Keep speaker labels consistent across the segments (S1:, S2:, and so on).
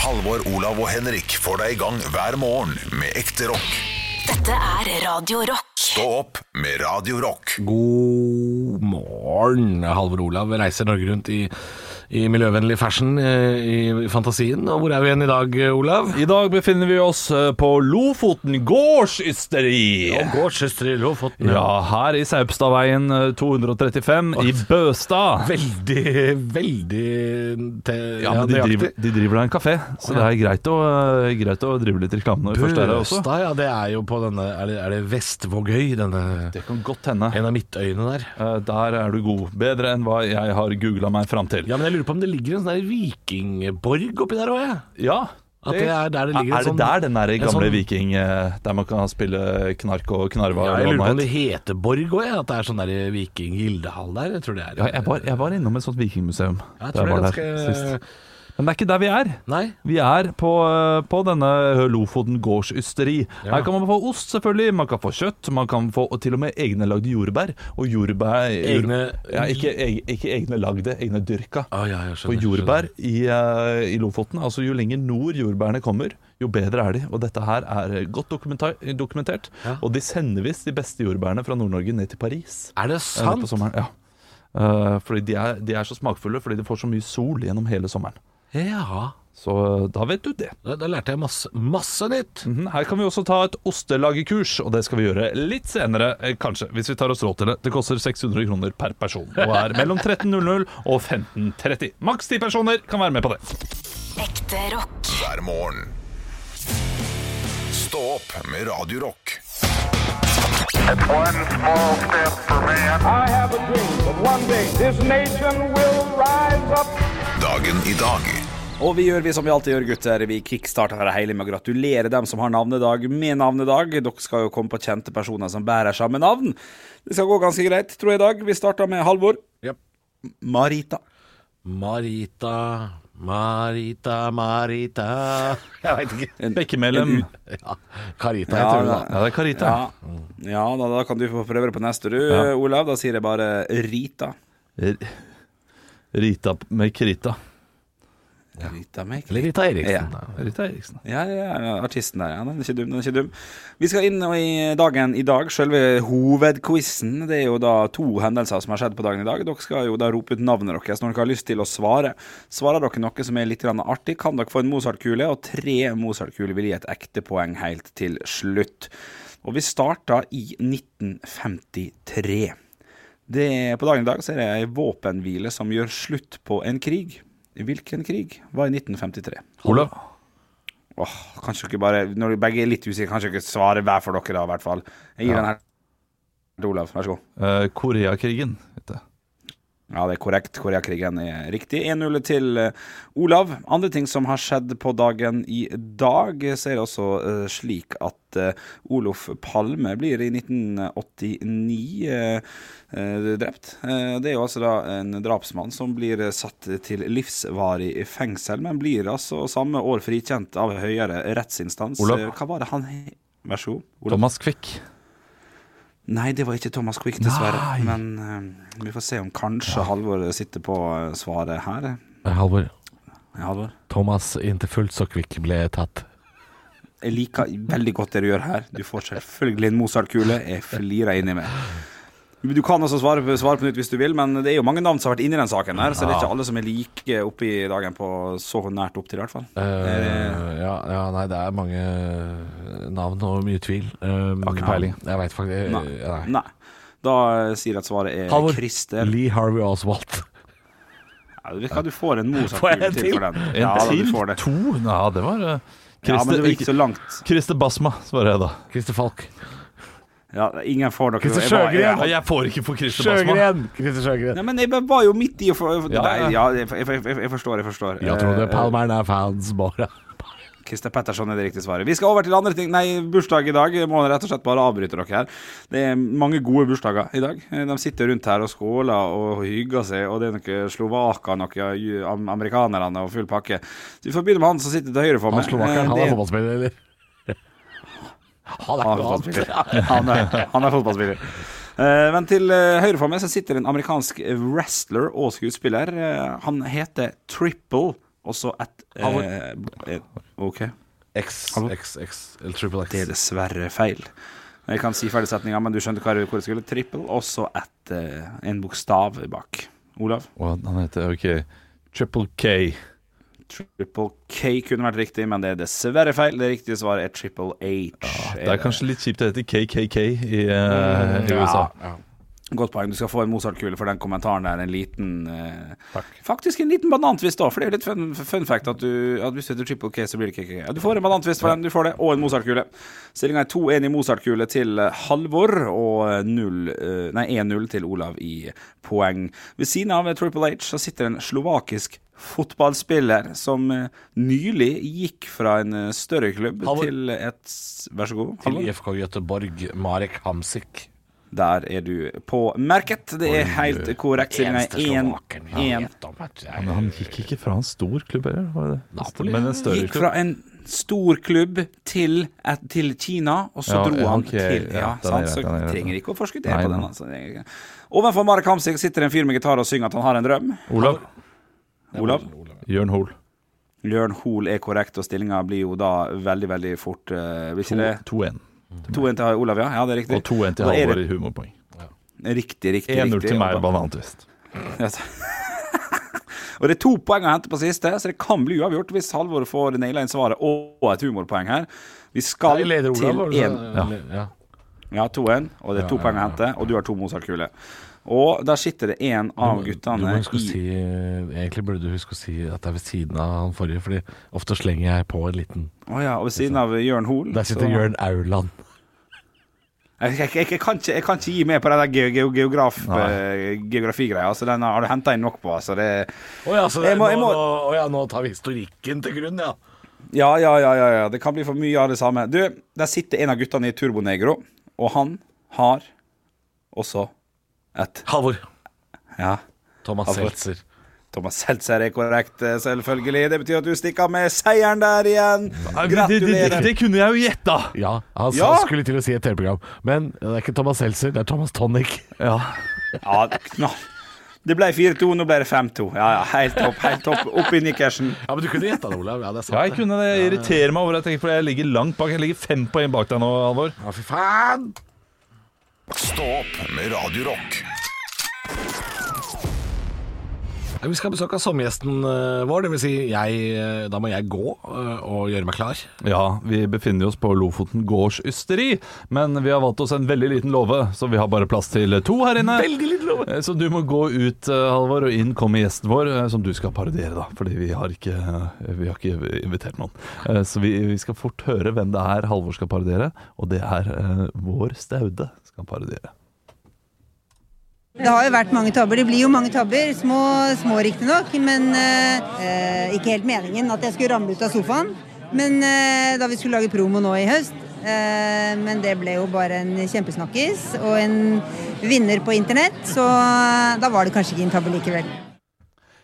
S1: Halvor, Olav og Henrik får deg i gang hver morgen med ekte rock.
S2: Dette er Radio Rock.
S1: Stå opp med Radio Rock.
S3: God morgen. Halvor Olav reiser Norge rundt i, i miljøvennlig fashion eh, i fantasien. Og hvor er vi igjen i dag, eh, Olav?
S4: I dag befinner vi oss eh, på Lofoten gårdsysteri.
S3: Gårdssøster i Lofoten.
S4: Ja, her i Saupstadveien eh, 235 i Bøstad.
S3: Veldig, veldig te
S4: Ja, men de driver, de driver da en kafé, så det er greit å, eh, greit å drive litt reklame når vi først er her også.
S3: Bøstad, ja. Det er jo på denne Er det, er det Vestvågøy? Denne
S4: Det kan godt hende.
S3: En av midtøyene der.
S4: Eh, Der er du god. Bedre enn hva jeg har googla meg fram til.
S3: Ja, men jeg lurer på om det ligger en sånn der vikingborg oppi der òg, jeg.
S4: Ja.
S3: At det er der det ligger en
S4: Er det
S3: sånn-
S4: der den der
S3: en
S4: gamle
S3: sånn-
S4: viking eh, Der man kan spille knark og knarva?
S3: Ja, jeg
S4: eller
S3: lurer
S4: hva
S3: på om
S4: den
S3: det
S4: het?
S3: heter Borg òg, at det er sånn der viking-gildehall der. Jeg tror det er
S4: ja, jeg, var, jeg var innom et sånt vikingmuseum da
S3: Jeg tror det er
S4: var der
S3: ganske
S4: sist. Men det er ikke der vi er.
S3: Nei?
S4: Vi er på, eh, på denne Lofoten gårdsysteri.
S3: Ja.
S4: Her kan man få ost, selvfølgelig. Man kan få kjøtt. Man kan få og til og med egne lagde jordbær. Og jordbær
S3: Egne-
S4: ja, ikke, eg- ikke egne lagde, egne dyrka.
S3: Å, Ah, ja, jeg
S4: For
S3: skjønner.
S4: jordbær i, eh, i Lofoten, altså jo lenger nord jordbærene kommer, jo bedre er de. Og dette her er godt dokumenta- dokumentert.
S3: Ja.
S4: Og de sender visst de beste jordbærene fra Nord-Norge ned til Paris.
S3: Er det
S4: eh,
S3: sant?
S4: På sommeren, ja. Eh, fordi de er, de er så smakfulle fordi de får så mye sol gjennom hele sommeren.
S3: Ja.
S4: Så eh, da vet du det.
S3: Da, da lærte jeg masse, masse nytt.
S4: Mhm, Her kan vi også ta et ostelagekurs, og det skal vi gjøre litt senere, eh, kanskje, hvis vi tar oss råd til det. Det koster 600 kroner per person, og er mellom 13.00 og 15.30. Maks 10 personer kan være med på det.
S2: Ekte rock.
S1: Hver morgen. Stå opp med Radio Rock.
S5: One small step for man.
S6: I have a dream that one day this nation will rise up.
S1: Dagen i dag.
S7: Og vi gjør vi som vi alltid gjør, gutter. Vi kickstarter det hele med å gratulere dem som har navnedag med navnedag. Dere skal jo komme på kjente personer som bærer samme navn. Det skal gå ganske greit, tror jeg, i dag. Vi starter med Halvor.
S3: Japp.
S7: Marita.
S3: Marita, Marita, Marita Jeg veit ikke.
S4: Bekkemellem.
S3: Ja, Karita heter hun, da.
S4: Ja, det er Karita.
S7: Ja, ja da, da kan du få prøve det på neste, du, Olav. Da sier jeg bare Rita.
S4: R- Rita p- med Krita.
S7: Rita Maker.
S3: Eller Rita Eriksen.
S7: Ja.
S3: da.
S4: Rita Eriksen.
S7: Ja, ja, ja, artisten der. Ja, den er ikke dum, den er ikke dum. Vi skal inn og i dagen i dag, selve hovedquizen. Det er jo da to hendelser som har skjedd på dagen i dag. Dere skal jo da rope ut navnet deres når dere har lyst til å svare. Svarer dere noe som er litt grann artig, kan dere få en Mozart-kule, og tre Mozart-kuler vil gi et ekte poeng helt til slutt. Og vi starter i 1953. Det, på dagen i dag så er det ei våpenhvile som gjør slutt på en krig. Hvilken krig var i 1953?
S4: Olav.
S7: Åh, kanskje dere bare Når dere begge er litt usikre, kanskje dere svarer hver for dere, da, i hvert fall. Jeg gir den her til Olav. Vær så god.
S4: Eh, Koreakrigen. vet jeg.
S7: Ja, det er korrekt. Koreakrigen er riktig. 1-0 til eh, Olav. Andre ting som har skjedd på dagen i dag, så er det også eh, slik at eh, Olof Palme blir i 1989 eh, eh, drept. Eh, det er jo altså da en drapsmann som blir eh, satt til livsvarig fengsel, men blir altså samme år frikjent av høyere rettsinstans.
S4: Olav.
S7: Eh, Hva var det han he- Vær så god. Olav.
S4: Thomas Quick.
S7: Nei, det var ikke Thomas Quick, dessverre.
S4: Nei.
S7: Men eh, vi får se om kanskje Halvor sitter på eh, svaret her.
S3: Eh, Halvor,
S7: Ja, Halvor.
S3: Thomas ikke fullt så kvikk ble tatt.
S7: Jeg liker veldig godt det du gjør her. Du får selvfølgelig en Mozart-kule. Jeg flirer inni meg. Du kan også svare på, svare på nytt hvis du vil, men det er jo mange navn som har vært inni den saken her, så det er ikke alle som er like oppe i dagen på så nært opp til, i hvert fall.
S3: Eh, ja, ja, nei, det er mange eh, navn og mye tvil. Um,
S7: ikke peiling.
S3: Jeg veit faktisk eh,
S7: Nei.
S3: nei.
S7: Nei. Da eh, sier jeg at svaret er
S3: Halvor,
S7: Christer.
S3: Lee Harvey Oswald.
S7: Ja, du vet hva, du får en
S3: Får jeg
S7: Mozart-kule
S3: en
S7: til
S3: til?
S7: for den.
S4: En
S7: Ja, da,
S4: til?
S7: du får det.
S4: To? Ja, det var eh,
S7: Ja, men
S4: Christer,
S7: det gikk
S4: ikke-
S7: så langt.
S4: Christer Basma, svarer jeg da.
S3: Christer Falk.
S7: Ja, ingen får dere
S3: Christer
S7: Jeg bare- jeg-
S3: Sjøgren.
S4: Ja, jeg får ikke for Christer Basma.
S3: Sjøgren! Christer Sjøgren.
S7: Nei, men jeg bare var jo midt i å få
S4: Ja,
S7: Nei,
S4: ja.
S7: ja, jeg, jeg, jeg, jeg forstår, jeg forstår.
S3: Jeg trodde
S7: Eh,
S3: Palmeren er fans bare.
S7: Christer Petterson er det riktige svaret. Vi skal over til andre ting. Nei, bursdag i dag. Jeg må rett og slett bare avbryte dere her. Det er mange gode bursdager i dag. Eh, De sitter rundt her og skåler og hygger seg, og det er noen slovaker, noen ju- am- amerikanerne og full pakke. Så vi får begynne med han som sitter til høyre for meg.
S3: Han slovakeren, han
S7: Eh,
S3: er
S7: det-
S3: fotballspiller, eller? Han er
S7: Han er
S3: ikke noe annet.
S7: fotballspiller. Han er, han er fotballspiller. Eh, men til eh, høyre for meg så sitter en amerikansk wrestler og skuespiller. Eh, han heter Triple og så et
S3: Halvor.
S7: eh, b- eh, OK.
S3: X, X, X, eller triple
S7: Det er
S3: X.
S7: dessverre feil. Jeg kan si ferdig setninga, men du skjønte hva- hvor det skulle. Trippel, og så et, eh, en bokstav bak. Olav?
S4: Og han heter OK. Triple K.
S7: Triple K kunne vært riktig, men det er dessverre feil. Det riktige svaret er Triple H.
S4: Ah, Det er kanskje litt kjipt å hete KKK i, eh, i USA.
S3: ja.
S7: Godt poeng. Du skal få en Mozart-kule for den kommentaren der. En liten eh, Faktisk en liten banantvist òg, for det er jo litt fun, fun fact at, du, at hvis du heter Triple K, så blir det KKK. Ja, du får en banantvist for den, du får det, og en Mozart-kule. Stillinga er 2-1 i Mozart-kule til eh, Halvor og null, eh, nei, 1-0 til Olav i poeng. Ved siden av eh, Triple H så sitter en slovakisk fotballspiller som eh, nylig gikk fra en eh, større klubb
S3: Halvor.
S7: til et s- Vær så god.
S3: Til
S7: Halvor.
S3: IFK Göteborg, Marek Hamsik.
S7: Der er du på merket. Det er helt korrekt. Stillinga
S3: slovakeren vi
S7: er 1-1.
S3: vet om, vet du.
S4: Men han gikk ikke fra en stor klubb heller, var det det?
S3: Napoli.
S4: Men en større
S7: Gikk
S4: klubb.
S7: fra en stor klubb til, et, til Kina, og så
S4: Ja,
S7: dro
S4: ja,
S7: han
S4: ok.
S7: til
S4: Ja,
S7: Ja,
S4: den er
S7: sant,
S4: greit,
S7: så
S4: den er greit.
S7: trenger ikke å forskuttere
S4: Nei,
S7: på den.
S4: nei.
S7: Altså. Det er greit. Ovenfor Marek Hamsik sitter en fyr med gitar og synger at han har en drøm.
S4: Olav.
S7: Olav?
S4: Jørn Hoel.
S7: Jørn Hoel er korrekt, og stillinga blir jo da veldig, veldig fort uh, Blir ikke det
S4: 2-1.
S7: 2-1 til Olav, ja? Ja, det er riktig.
S4: Og 2-1 til
S7: Da er
S4: Halvor i humorpoeng.
S7: det Riktig, riktig.
S4: 1-0
S7: riktig.
S4: til meg,
S7: Og da-
S4: banantvist.
S7: Ja, så- og det er to poeng å hente på siste, så det kan bli uavgjort hvis Halvor får naila inn svaret og et humorpoeng her. Vi skal
S3: Nei, leder Olav, var
S7: til
S3: det så-
S7: én
S3: Ja. Ja.
S7: Ja, 2-1, og det er to poeng å hente, og du har to Mozart-kuler. Og der sitter det en av
S3: Du
S7: guttene
S3: må huske å si, egentlig burde du huske å si at det er ved siden av han forrige, Fordi ofte slenger jeg på en liten
S7: Å ja, og ved siden av Jørn Hoel
S3: Der sitter
S7: så-
S3: Jørn Auland.
S7: Jeg, jeg, jeg, jeg, kan ikke, jeg kan ikke gi meg på den der ge, ge, geograf, eh, geografigreia. Altså, den har du henta inn nok på. Altså, det,
S3: Å ja, så det,
S7: Jeg må- jeg
S3: nå,
S7: må-
S3: nå, å ja, nå tar vi historikken til grunn, ja.
S7: ja, ja, ja, ja, ja. Det kan bli for mye av det samme. Du, der sitter en av guttene i Turbonegro, og han har også et
S3: Halvor.
S7: Ja.
S3: Thomas
S7: Halvor.
S3: Seltzer.
S7: Thomas Seltzer er korrekt, eh, selvfølgelig. Det betyr at du stikker av med seieren der igjen. Gratulerer.
S4: kunne jeg jo gjetta!
S3: Ja, han
S7: Ja!
S3: sa- skulle til å si et TV-program, men det er ikke Thomas Seltzer, det er Thomas Tonic.
S4: Ja.
S7: Ja, knall. Det ble 4-2, nå ble det 5-2. Ja, ja, helt topp. helt topp Opp i nikkersen.
S3: Ja, men du kunne gjetta det, Olav. Ja, det er sant.
S4: ja, jeg kunne det. Jeg irriterer meg over at jeg, for jeg ligger langt bak. Jeg ligger fem poeng bak deg nå, Halvor.
S3: Ja, fy faen!
S1: Stå opp med Radio Rock.
S3: Ja, Vi skal ha besøk av sommergjesten eh, vår, dvs. Si jeg, eh, da må jeg gå eh, og gjøre meg klar.
S4: Ja, vi befinner oss på Lofoten gårdsysteri, men vi har valgt oss en veldig liten låve, så vi har bare plass til to her inne. Veldig liten låve! Så du må gå ut, eh, Halvor, og inn kommer gjesten vår, eh, som du skal parodiere, da. Fordi vi har ikke, eh, vi har ikke invitert noen. Eh, Så vi, vi skal fort høre hvem det er Halvor skal parodiere, og det er eh, vår Staude skal parodiere.
S8: Det har jo vært mange tabber. Det blir jo mange tabber. Små, små riktignok, men eh, eh, ikke helt meningen at jeg skulle ramle ut av sofaen. Men eh, da vi skulle lage promo nå i høst eh, Men det ble jo bare en kjempesnakkis og en vinner på internett, så da var det kanskje ikke en tabbe likevel.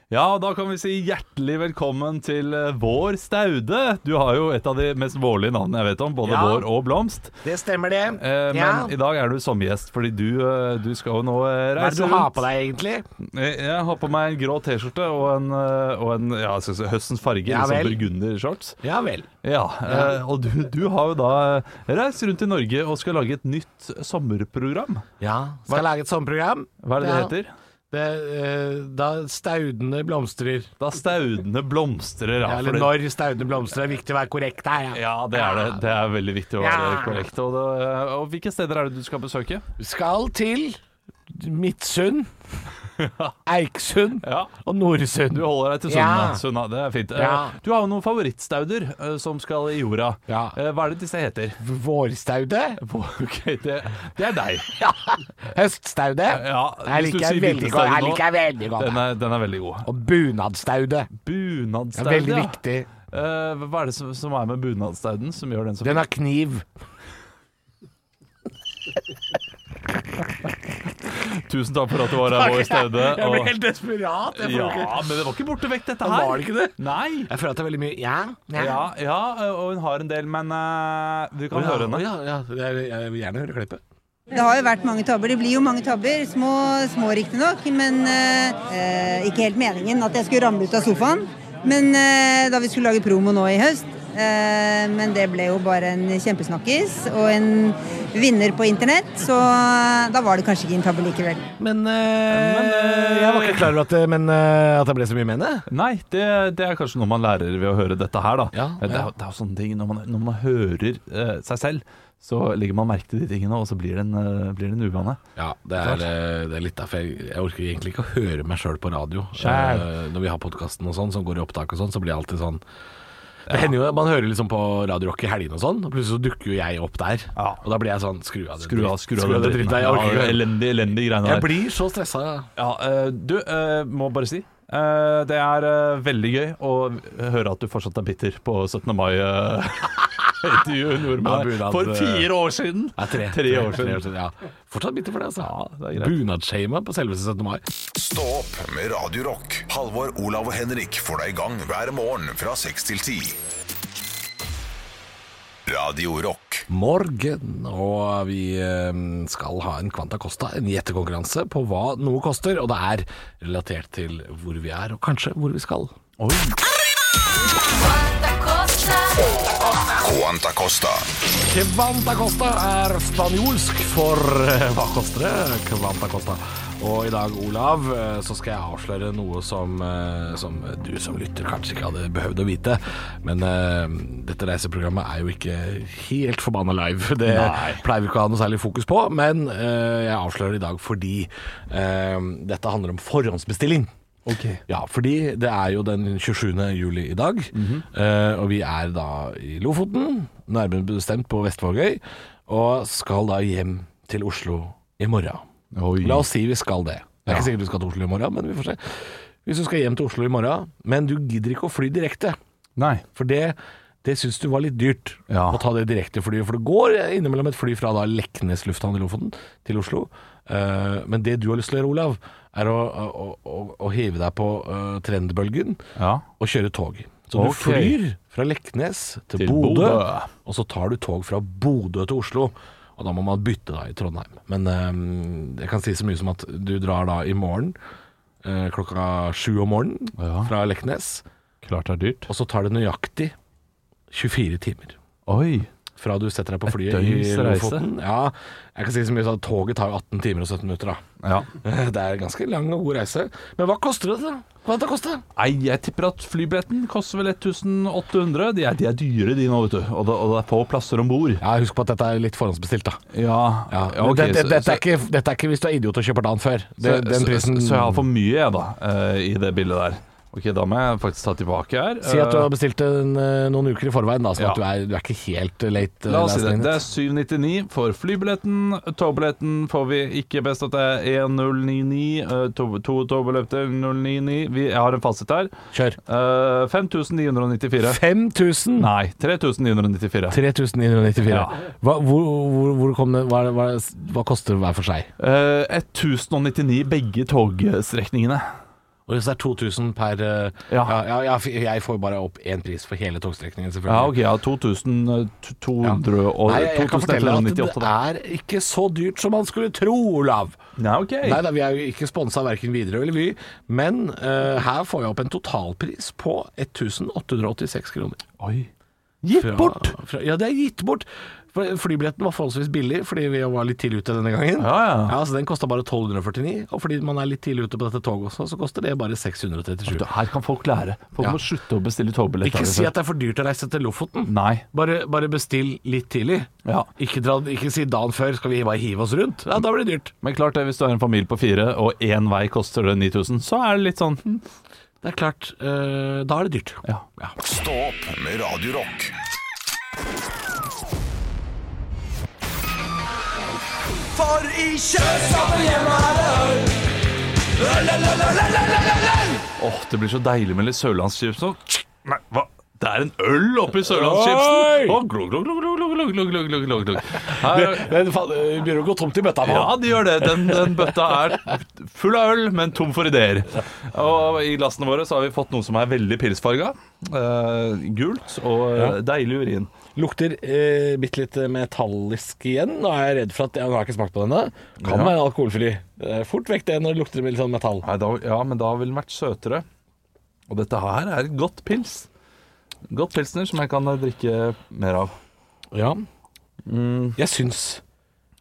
S4: Ja, og da kan vi si hjertelig velkommen til eh, vår Staude. Du har jo et av de mest vårlige navnene jeg vet om, både
S3: Ja.
S4: vår og blomst.
S3: Det stemmer, det.
S4: Eh, Men i dag er du sommergjest, fordi du, eh, du skal jo nå
S3: Hva
S4: eh,
S3: er
S4: reise
S3: det du har på deg, egentlig?
S4: Jeg, jeg har på meg en grå T-skjorte og en, eh, og en ja, jeg skal si høstens farge,
S3: Ja
S4: litt sånn
S3: vel.
S4: burgundershorts.
S3: Ja vel.
S4: Ja, eh, og du, du har jo da eh, reist rundt i Norge og skal lage et nytt sommerprogram.
S3: Ja, skal jeg lage et sommerprogram?
S4: Hva er
S3: ja.
S4: det det heter?
S3: Det, eh, da staudene blomstrer.
S4: Da staudene blomstrer. Ja,
S3: Eller
S4: for det-
S3: når staudene blomstrer. Det er viktig å være korrekt her. Ja.
S4: ja, det er det. Det er veldig viktig å være
S3: Ja.
S4: korrekt. Og, det, og hvilke steder er det du skal besøke?
S3: Skal til Midtsund, Eiksund
S4: Ja.
S3: og Noresund.
S4: Du holder deg til Sunna.
S3: Ja.
S4: Sunna det er fint. Eh,
S3: Ja.
S4: Du har jo noen favorittstauder eh, som skal i jorda.
S3: Ja.
S4: Eh, Hva er det disse heter?
S3: Vårstaude.
S4: Ok, det, det er deg.
S3: Høststaude.
S4: Ja,
S3: Her
S4: hvis du
S3: liker jeg
S4: sier
S3: veldig godt. Her
S4: vinterstaude nå,
S3: liker jeg veldig godt.
S4: Den er, den er veldig god.
S3: Og bunadstaude. Det
S4: Bunadstaud,
S3: er veldig viktig.
S4: Eh, hva er det som, som er med bunadstauden som gjør den så
S3: Den har kniv.
S4: Tusen takk for at du var her, vår staude.
S3: Jeg
S4: og-
S3: ble helt desperat. Jeg, får
S4: Ja,
S3: ikke-
S4: men det var ikke borte vekk, dette her.
S3: Var det ikke det?
S4: Nei.
S3: jeg føler at det er veldig mye Ja. ja.
S4: Ja, ja, eh, og hun har en del, men eh, du kan
S3: Å, ja,
S4: høre
S3: å,
S4: henne.
S3: Ja, ja. Jeg, jeg vil gjerne høre klippet.
S8: Det har jo vært mange tabber. Det blir jo mange tabber. Små, små riktignok, men eh, eh, ikke helt meningen at jeg skulle ramle ut av sofaen. Men eh, da vi skulle lage promo nå i høst eh, Men det ble jo bare en kjempesnakkis og en vinner på internett, så da var det kanskje ikke en tabbe likevel.
S3: Men, eh, jeg var ikke klar over at, det- men, eh, at det ble så mye med det.
S4: Nei, det, det er kanskje noe man lærer ved å høre dette her, da. Eh,
S3: Ja,
S4: det, er,
S3: ja.
S4: jo- det er jo sånne ting Når man, når man hører eh, seg selv, så legger man merke til de tingene, og så blir det en, eh, blir det en uvane.
S3: Ja, det er, eh, det er litt derfor jeg, jeg orker egentlig ikke å høre meg sjøl på radio.
S4: Skjæl.
S3: Eh, Når vi har podkasten og sånn, som går i opptak og sånn, så blir jeg alltid sånn Det hender jo at man hører liksom på Radio Rock i helgene og sånn, og plutselig så dukker jo jeg opp der.
S4: Ja.
S3: Og da blir jeg sånn Skru av det
S4: Skru av, skru av
S3: det
S4: den
S3: dritt. Jeg orker
S4: Ja,
S3: ikke.
S4: elendig, elendig greiene
S3: Jeg
S4: der.
S3: blir så stressa.
S4: Ja, eh, du, eh, må bare si. eh, det er eh, veldig gøy å høre at du fortsatt er bitter på 17. mai. eh, intervjuet du gjorde
S3: Ja,
S4: med
S3: bunad,
S4: deg for
S3: eh,
S4: fire år siden!
S3: Ja, tre,
S4: år siden.
S3: ja. Fortsatt bitter for det, altså.
S4: det er greit.
S3: Bunadshama på selveste 17. mai.
S1: Stå opp med Radio Rock. Halvor, Olav og Henrik får deg i gang hver morgen fra 6 til 10. Radio Rock.
S3: morgen, og vi eh, skal ha en Quanta Costa, en gjettekonkurranse på hva noe koster, og det er relatert til hvor vi er, og kanskje hvor vi skal.
S1: Quanta Costa.
S3: Quanta Costa er spanjolsk for eh, hva koster det? Quanta Costa. Og i dag, Olav, eh, så skal jeg avsløre noe som, eh, som du som lytter kanskje ikke hadde behøvd å vite, men eh, dette reiseprogrammet er jo ikke helt forbanna live. Det pleier vi ikke å ha noe særlig fokus på, men eh, jeg avslører i dag fordi eh, dette handler om forhåndsbestilling. Ja, fordi det er jo den 27. juli i dag, eh, og vi er da i Lofoten, nærmere bestemt på Vestvågøy, og skal da hjem til Oslo i morgen.
S4: Oi.
S3: La oss si vi skal det. Det er ikke sikkert du skal til Oslo i morgen, men vi får se. Hvis du skal hjem til Oslo i morgen, men du gidder ikke å fly direkte,
S4: Nei.
S3: for det, det syns du var litt dyrt
S4: Ja.
S3: å ta det direkteflyet, for det går innimellom et fly fra da Leknes lufthavn i Lofoten til Oslo. Eh, men det du har lyst til å gjøre, Olav, er å, å, å, å hive deg på eh, trendbølgen
S4: Ja.
S3: og kjøre tog. Så
S4: Ok.
S3: du flyr fra Leknes til,
S4: Til
S3: Bodø,
S4: Bodø.
S3: og så tar du tog fra Bodø til Oslo. Og da må man bytte da i Trondheim. Men eh, jeg kan si så mye som at du drar da i morgen eh, klokka sju om morgenen
S4: Ja.
S3: fra Leknes,
S4: Klart det er dyrt.
S3: og så tar det nøyaktig 24 timer.
S4: Oi.
S3: Fra du setter deg på flyet i
S4: døgns reise.
S3: Lofoten. Ja, jeg kan si så mye som at toget tar jo 18 timer og 17 minutter, da.
S4: Ja.
S3: Det er en ganske lang og god reise. Men hva koster det, da? Hva det koster?
S4: Nei, jeg tipper at flybilletten koster vel 1800. De er, de er dyre, de nå, vet du. Og det, og det er få plasser om bord.
S3: Ja, husk på at dette er litt forhåndsbestilt, da.
S4: Ja,
S3: Ja,
S4: ja,
S3: men
S4: ok,
S3: det, det,
S4: så-
S3: dette,
S4: så-
S3: er ikke, dette er ikke hvis du er idiot og kjøper dagen før. Det,
S4: så-
S3: den
S4: så-
S3: prisen
S4: så, jeg har for mye, jeg, da, eh, i det bildet der. Ok, da må jeg faktisk ta tilbake her.
S3: Si at du har
S4: Eh,
S3: bestilt den eh, noen uker i forveien, da, sånn
S4: Ja.
S3: at du er, du er ikke helt eh, late. eh,
S4: La oss si
S3: last
S4: det.
S3: minute.
S4: Det er 799 for flybilletten. Togbilletten får vi ikke best at det er 1099. eh, To, to togbilletter 099. Vi, jeg har en fasit her.
S3: Kjør.
S4: Eh, 5994.
S3: 5000!
S4: Nei, 3994.
S3: 3994.
S4: Ja.
S3: Hva, hvor, hvor, hvor kom det, hva, hva, hva koster hver for seg?
S4: Eh, 1099 begge togstrekningene.
S3: Og hvis det er 2000 per eh,
S4: Ja.
S3: ja, ja, ja, f- Jeg får bare opp én pris for hele togstrekningen, selvfølgelig.
S4: Ja, ok, ja, eh, 2200 og
S3: Nei, jeg, jeg kan fortelle at
S4: 2198
S3: det
S4: da.
S3: er ikke så dyrt som man skulle tro, Olav.
S4: Nei, ok.
S3: Nei da, vi er jo ikke sponsa verken Widerøe eller Vy, men eh, her får jeg opp en totalpris på 1886 kroner.
S4: Oi. Gitt
S3: Fra-
S4: bort!
S3: Fra, ja, det er gitt bort! For Flybilletten var forholdsvis billig fordi vi var litt tidlig ute denne gangen.
S4: Ja, ja.
S3: så Den kosta bare 1249, og fordi man er litt tidlig ute på dette toget også, så koster det bare 637.
S4: Du, her kan folk lære. Folk
S3: Ja.
S4: må slutte å bestille togbilletter. altså.
S3: Ikke si at det er for dyrt å reise til Lofoten.
S4: Nei.
S3: Bare, bare bestill litt tidlig.
S4: Ja.
S3: Ikke, dra, ikke si dagen før skal vi bare hive oss rundt. Ja, Da blir det dyrt.
S4: Men klart det, hvis du har en familie på fire, og én vei koster det 9000, så er det litt sånn hm,
S3: Det er klart, eh, da er det dyrt.
S4: Ja.
S1: Stå opp med Radio Rock.
S4: Åh, det blir så deilig med litt sørlandschips og Nei, hva? Det er en øl oppi sørlandschipsen!
S3: Oi!
S4: Åh, glug, glug, glug, glug, glug, glug, glug, glug, glug, glug. Her-
S3: Den eh, begynner å gå tomt i bøtta
S4: Ja, de gjør det. Den, den bøtta er full av øl, men tom for ideer. Og i glassene våre så har vi fått noe som er veldig pilsfarga. Eh, gult og eh, deilig urin.
S3: Lukter eh, bitte litt metallisk igjen. Nå er jeg redd for at jeg, nå har jeg ikke smakt på denne. Kan
S4: Ja.
S3: være alkoholfri. Eh, Fort vekk det når det lukter litt sånn metall.
S4: Nei, da, ja, men da ville den vært søtere. Og dette her er et godt pils. Godt pilsner som jeg kan eh, drikke mer av.
S3: Ja. Mm. Jeg syns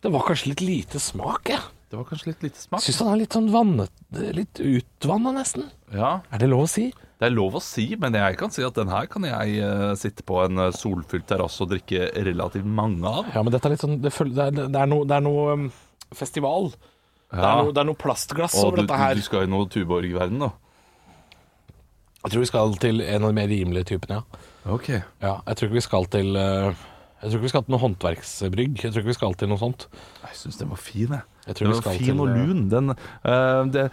S3: det var kanskje litt lite smak, jeg.
S4: Det var kanskje litt lite smak.
S3: Syns han er litt sånn vannet Litt utvanna, nesten.
S4: Ja,
S3: Er det lov å si?
S4: Det er lov å si, men jeg kan si at den her kan jeg eh, sitte på en eh, solfylt terrasse og drikke relativt mange av.
S3: Ja, men dette er litt sånn Det, føl- det, er, det er noe, det er noe um, festival. Det, er
S4: Ja.
S3: noe, det er noe plastglass
S4: Og
S3: over
S4: du,
S3: dette her.
S4: du skal i noe Tuborg-verden, da.
S3: Jeg tror vi skal til en av de mer rimelige typene, ja.
S4: Ok.
S3: ja. Jeg tror ikke vi skal til eh, Jeg tror ikke vi skal til noe håndverksbrygg. Jeg tror ikke vi skal til noe sånt.
S4: Jeg syns den var fin, jeg.
S3: Jeg tror
S4: Den
S3: vi
S4: var
S3: skal
S4: fin
S3: til,
S4: og
S3: eh,
S4: lun. Den, eh, det,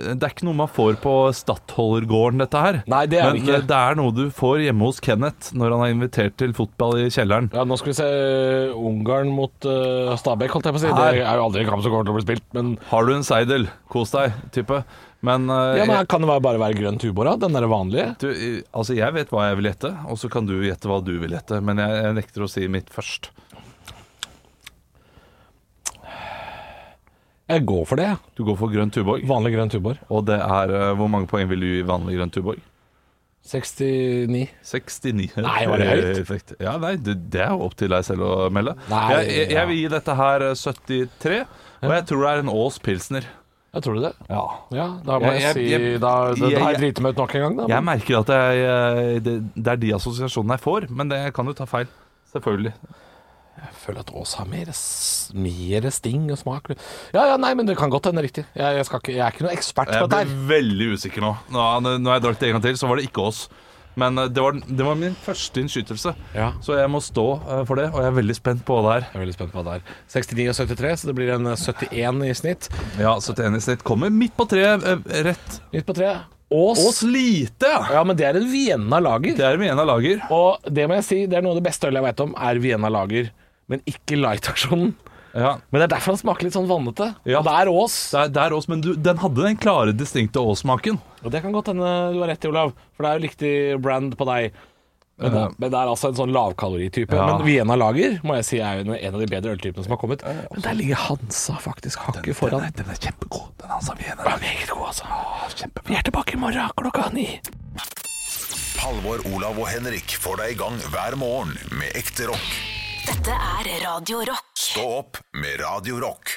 S4: det er ikke noe man får på Stadholdergården, dette her.
S3: Nei, det er det
S4: Men
S3: ikke.
S4: eh, det er noe du får hjemme hos Kenneth når han er invitert til fotball i kjelleren.
S3: Ja, Nå skal vi se Ungarn mot eh, Stabæk, holdt jeg på å si.
S4: Her.
S3: Det er jo aldri en kamp som kommer til å bli spilt, men
S4: Har du en seidel, kos deg, type. Men, eh,
S3: ja, men her kan det bare være grønn tubor, da? Den derre vanlige?
S4: Du, eh, altså jeg vet hva jeg vil gjette, og så kan du gjette hva du vil gjette. Men jeg, jeg nekter å si mitt først.
S3: Jeg går for det. jeg.
S4: Du går for grønn Tuborg.
S3: Vanlig grønn tubor.
S4: Og det er eh, Hvor mange poeng vil du gi vanlig grønn Tuborg?
S3: 69.
S4: 69.
S3: Nei, var det høyt?
S4: Eh, Perfekt. Ja, nei, det, det er jo opp til deg selv å melde.
S3: Nei,
S4: jeg, jeg, jeg vil gi dette her eh, 73, og jeg tror det er en Aas pilsner.
S3: Jeg tror du det?
S4: Ja.
S3: Ja, da må jeg,
S4: Jeg- jeg-
S3: si
S4: jeg-
S3: Da, da, da har
S4: jeg-
S3: jeg driti meg ut nok en gang, da.
S4: Jeg merker at jeg, eh, det, det er de assosiasjonene jeg får, men det kan jo ta feil. Selvfølgelig.
S3: Jeg føler at Ås har mer, s- mer sting og smak. Ja, ja, nei, men det kan godt hende riktig. Jeg, jeg, skal ikke, jeg er ikke noen ekspert på
S4: Jeg
S3: dette
S4: ble
S3: her.
S4: veldig usikker nå. Nå, når jeg drakk det en gang til, så var det ikke oss. Men eh, det var, det var min første innskytelse,
S3: Ja.
S4: så jeg må stå eh, for det. Og jeg er veldig spent på hva det her.
S3: Jeg er veldig spent på hva det er. 69 og 73, så det blir en eh, 71 i snitt.
S4: Ja, 71 i snitt kommer midt på treet. eh, Rett
S3: Midt på treet. Ås.
S4: Ås lite, ja!
S3: Ja, men det er en Vienna lager.
S4: Det er med en av lager.
S3: Og det må jeg si, det er noe av det beste ølet jeg veit om, er Vienna lager. Men ikke light-aksjonen.
S4: Ja.
S3: Men det er derfor han smaker litt sånn vannete.
S4: Ja.
S3: Og det er Ås.
S4: Det er, det er Ås, men du, den hadde den klare, distinkte Ås-smaken.
S3: Og det kan godt hende du har rett i, Olav, for det er jo riktig brand på deg. Men, det- men det er altså en sånn lavkaloritype.
S4: Ja.
S3: Men Vienna Lager må jeg si er jo en en av de bedre øltypene som har kommet. Men der ligger Hansa faktisk hakket foran. Den er, kjempegod. Den Hansa Vienna er meget god, altså. Vi er tilbake i morgen klokka ni.
S1: Halvor, Olav og Henrik får deg i gang hver morgen med ekte rock.
S2: Dette er Radio Rock.
S1: Stå opp med Radio Rock.